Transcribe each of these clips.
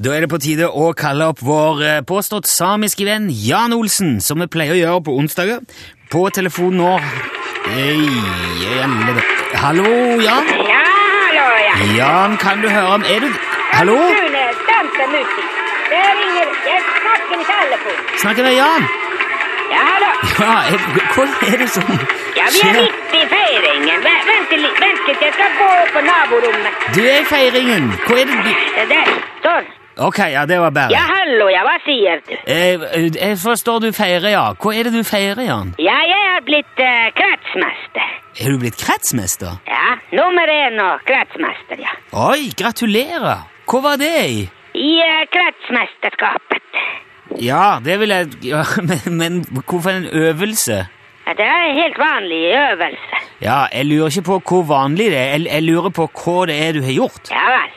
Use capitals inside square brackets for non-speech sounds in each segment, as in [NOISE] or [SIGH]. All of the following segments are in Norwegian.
Da er det på tide å kalle opp vår eh, påstått samiske venn Jan Olsen, som vi pleier å gjøre på onsdager. På telefon nå Hei, i alle da- Hallo, Jan? Ja, hallo, ja. Jan, kan du høre om Er du Hallo? Rune, dansemusikk. Det ringer. Jeg snakker med telefon. Snakker med Jan? Ja, hallo. Ja, er, hva er det som Ja, vi er skjer? midt i feiringen. Ve- Vent litt, vent litt. Jeg skal gå opp på naborommet. Du er i feiringen. Hva er det du Det der. Sånn. Ok, ja, det var Ja, bare hallo, ja. Hva sier du? Eh, Jeg forstår du feirer, ja. Hva er det du feirer, Jan? Ja, jeg har blitt eh, kretsmester. Er du blitt kretsmester? Ja, nummer én og kretsmester, ja. Oi, gratulerer! Hva var det i? I eh, kretsmesterskapet. Ja, det vil jeg ja, [LAUGHS] men, men hvorfor en øvelse? Ja, Det er en helt vanlig øvelse. Ja, jeg lurer ikke på hvor vanlig det er. Jeg, jeg lurer på hva det er du har gjort. Ja vel.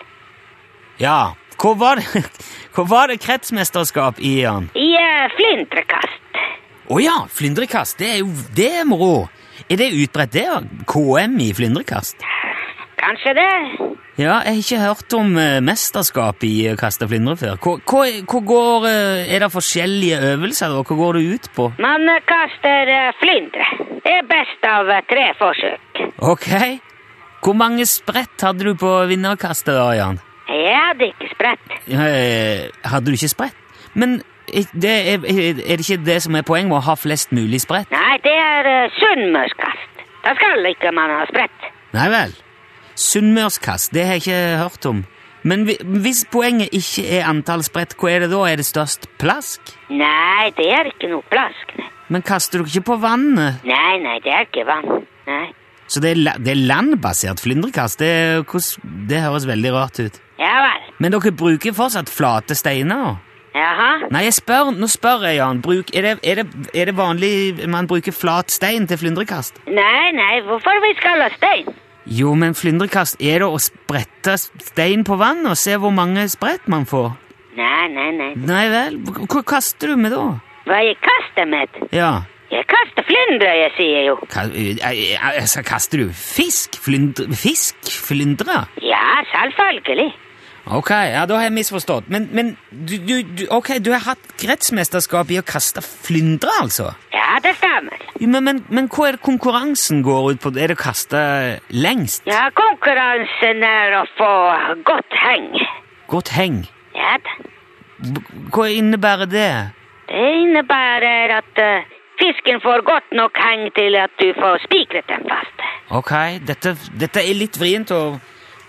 Ja, hva var det, [LAUGHS] hva var det kretsmesterskap i, Jan? I eh, flintrekast. Å ja, flyndrekast. Det er jo det er moro. Er det utbredt, det? ja? KM i flyndrekast? Kanskje det? Ja, jeg har ikke hørt om eh, mesterskap i å kaste flyndre før. Hva, hva, hva går eh, Er det forskjellige øvelser, da? Hva går det ut på? Man eh, kaster eh, flyndre. Det er best av eh, tre forsøk. Ok. Hvor mange sprett hadde du på vinnerkastet, da, Jan? Jeg hadde ikke spredt. Eh, Hadde du ikke spredt? Men eh, det er, er det ikke det som er poenget med å ha flest mulig spredt? Nei, det er eh, sunnmørskast. Da skal ikke man ha spredt. Nei vel. Sunnmørskast, det har jeg ikke hørt om. Men hvi- hvis poenget ikke er antall spredt, hva er det da? Er det størst plask? Nei, det er ikke noe plask. Nei, Men kaster du ikke på vannet? nei, nei det er ikke vann. Nei. Så det er, la- det er landbasert flyndrekast? Det, er- hvordan- det høres veldig rart ut. Ja vel. Men dere bruker fortsatt flate steiner? Jaha. Nei, jeg spør, nå spør jeg, Jan. Bruk, er, det, er, det, er det vanlig man bruker flat stein til flyndrekast? Nei, nei, hvorfor vi skal ha stein? Jo, men flyndrekast er det å sprette stein på vann og se hvor mange sprett man får. Nei, nei, nei. Nei vel, hva hva kaster du med da? Hva jeg kaster med? Ja, Jeg kaster flyndre, jeg sier jo. ka, eh, eh, altså, kaster du fisk? Flyndre, fisk? Flyndre? Ja, selvfølgelig. Ok, ja, da har jeg misforstått. Men, men du, du, du, ok, du har hatt kretsmesterskap i å kaste flyndre, altså? Ja, det stemmer. Jo, Men, men, men hva er det konkurransen går ut på? Er det å kaste lengst? Ja, konkurransen er å få godt heng. Godt heng. Ja da. Hva innebærer det? Det innebærer at eh, fisken får godt nok heng til at du får spikret den fast. Ok, dette, dette er litt vrient å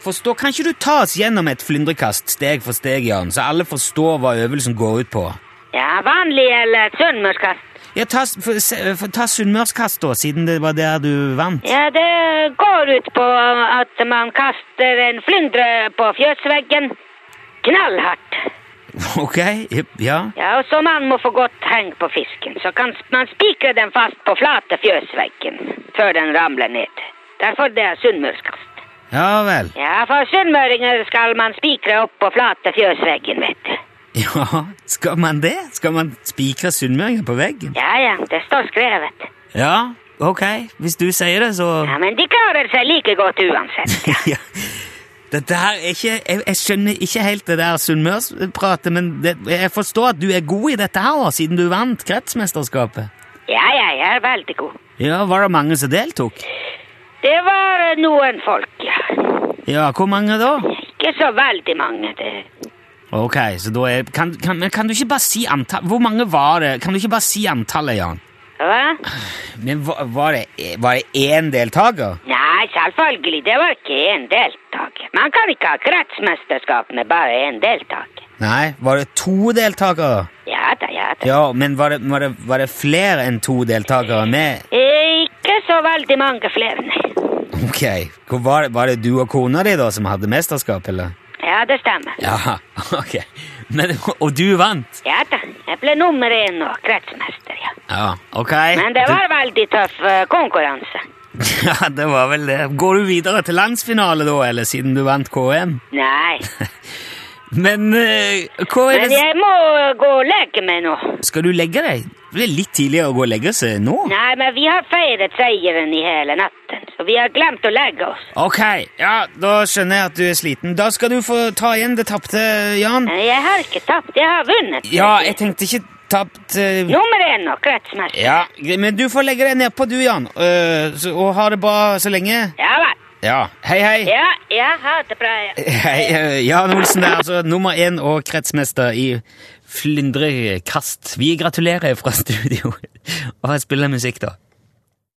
forstå. Kan ikke du ta oss gjennom et flyndrekast steg for steg, Jan, så alle forstår hva øvelsen går ut på? Ja, vanlig eller sunnmørskast. Ja, ta, s- for, se- for, ta sunnmørskast, da, siden det var der du vant. Ja, det går ut på at man kaster en flyndre på fjøsveggen knallhardt. [LAUGHS] Ok, jep, ja. Ja, og så man må få godt heng på fisken. Så kan s- man spikre den fast på flate fjøsveggen før den ramler ned. Derfor det er sunnmørskast. Ja vel. Ja, for sunnmøringer skal man spikre opp på flate fjøsveggen, vet du. Ja, skal man det? Skal man spikre sunnmøringer på veggen? Ja, ja, det står skrevet. Ja, ok. Hvis du sier det, så Ja, men de klarer seg like godt uansett. [LAUGHS] ja. Dette her er ikke Jeg, jeg skjønner ikke helt det der sunnmørspratet, men det, jeg forstår at du er god i dette her, da, siden du vant kretsmesterskapet. Ja, ja, jeg er veldig god. Ja, var det mange som deltok? Det var eh, noen folk, ja. Ja, hvor mange da? Ikke så veldig mange. Det. Ok, så da er Kan, kan, men kan du ikke bare si antall Hvor mange var det? Kan du ikke bare si antallet, Jan? Hva? Men var, var det Var det én deltaker? Nei, selvfølgelig, det var ikke én deltaker. Man kan ikke ha kretsmesterskap med bare én deltaker. Nei, var det to deltakere? Ja da, ja da. Ja, men var det, var det, var det flere enn to deltakere med? Eh, Ikke så veldig mange flere, nei. Ok, hvor var, det, var det du og kona di da som hadde mesterskap, eller? Ja, det stemmer. Ja, [LAUGHS] ok. Men, og du vant? Ja da, jeg ble nummer én og kretsmester, ja. Ja, ok. Men det var veldig tøff eh, konkurranse. [LAUGHS] Ja, det var vel det. Går du videre til landsfinale da, eller siden du vant KM? Nei. Men eh, hva er Men det jeg må gå og legge meg nå. Skal du legge deg? Det er litt tidligere å gå og legge seg nå. Nei, men vi har feiret seieren i hele natten, så vi har glemt å legge oss. Ok, ja, da skjønner jeg at du er sliten. Da skal du få ta igjen det tapte, Jan. Men jeg har ikke tapt, jeg har vunnet. Ja, jeg tenkte ikke tapt eh, Nummer én og kretsmerke. Ja, men du får legge deg nedpå du, Jan, Eh, så, og ha det bra så lenge. Ja vel. Ja, hei, hei. Ja, ja, ha det bra. ja. Hei, eh, Jan Olsen er altså nummer én og kretsmester i Flyndrekast. Vi gratulerer fra studio. [LAUGHS] Og spiller musikk, da.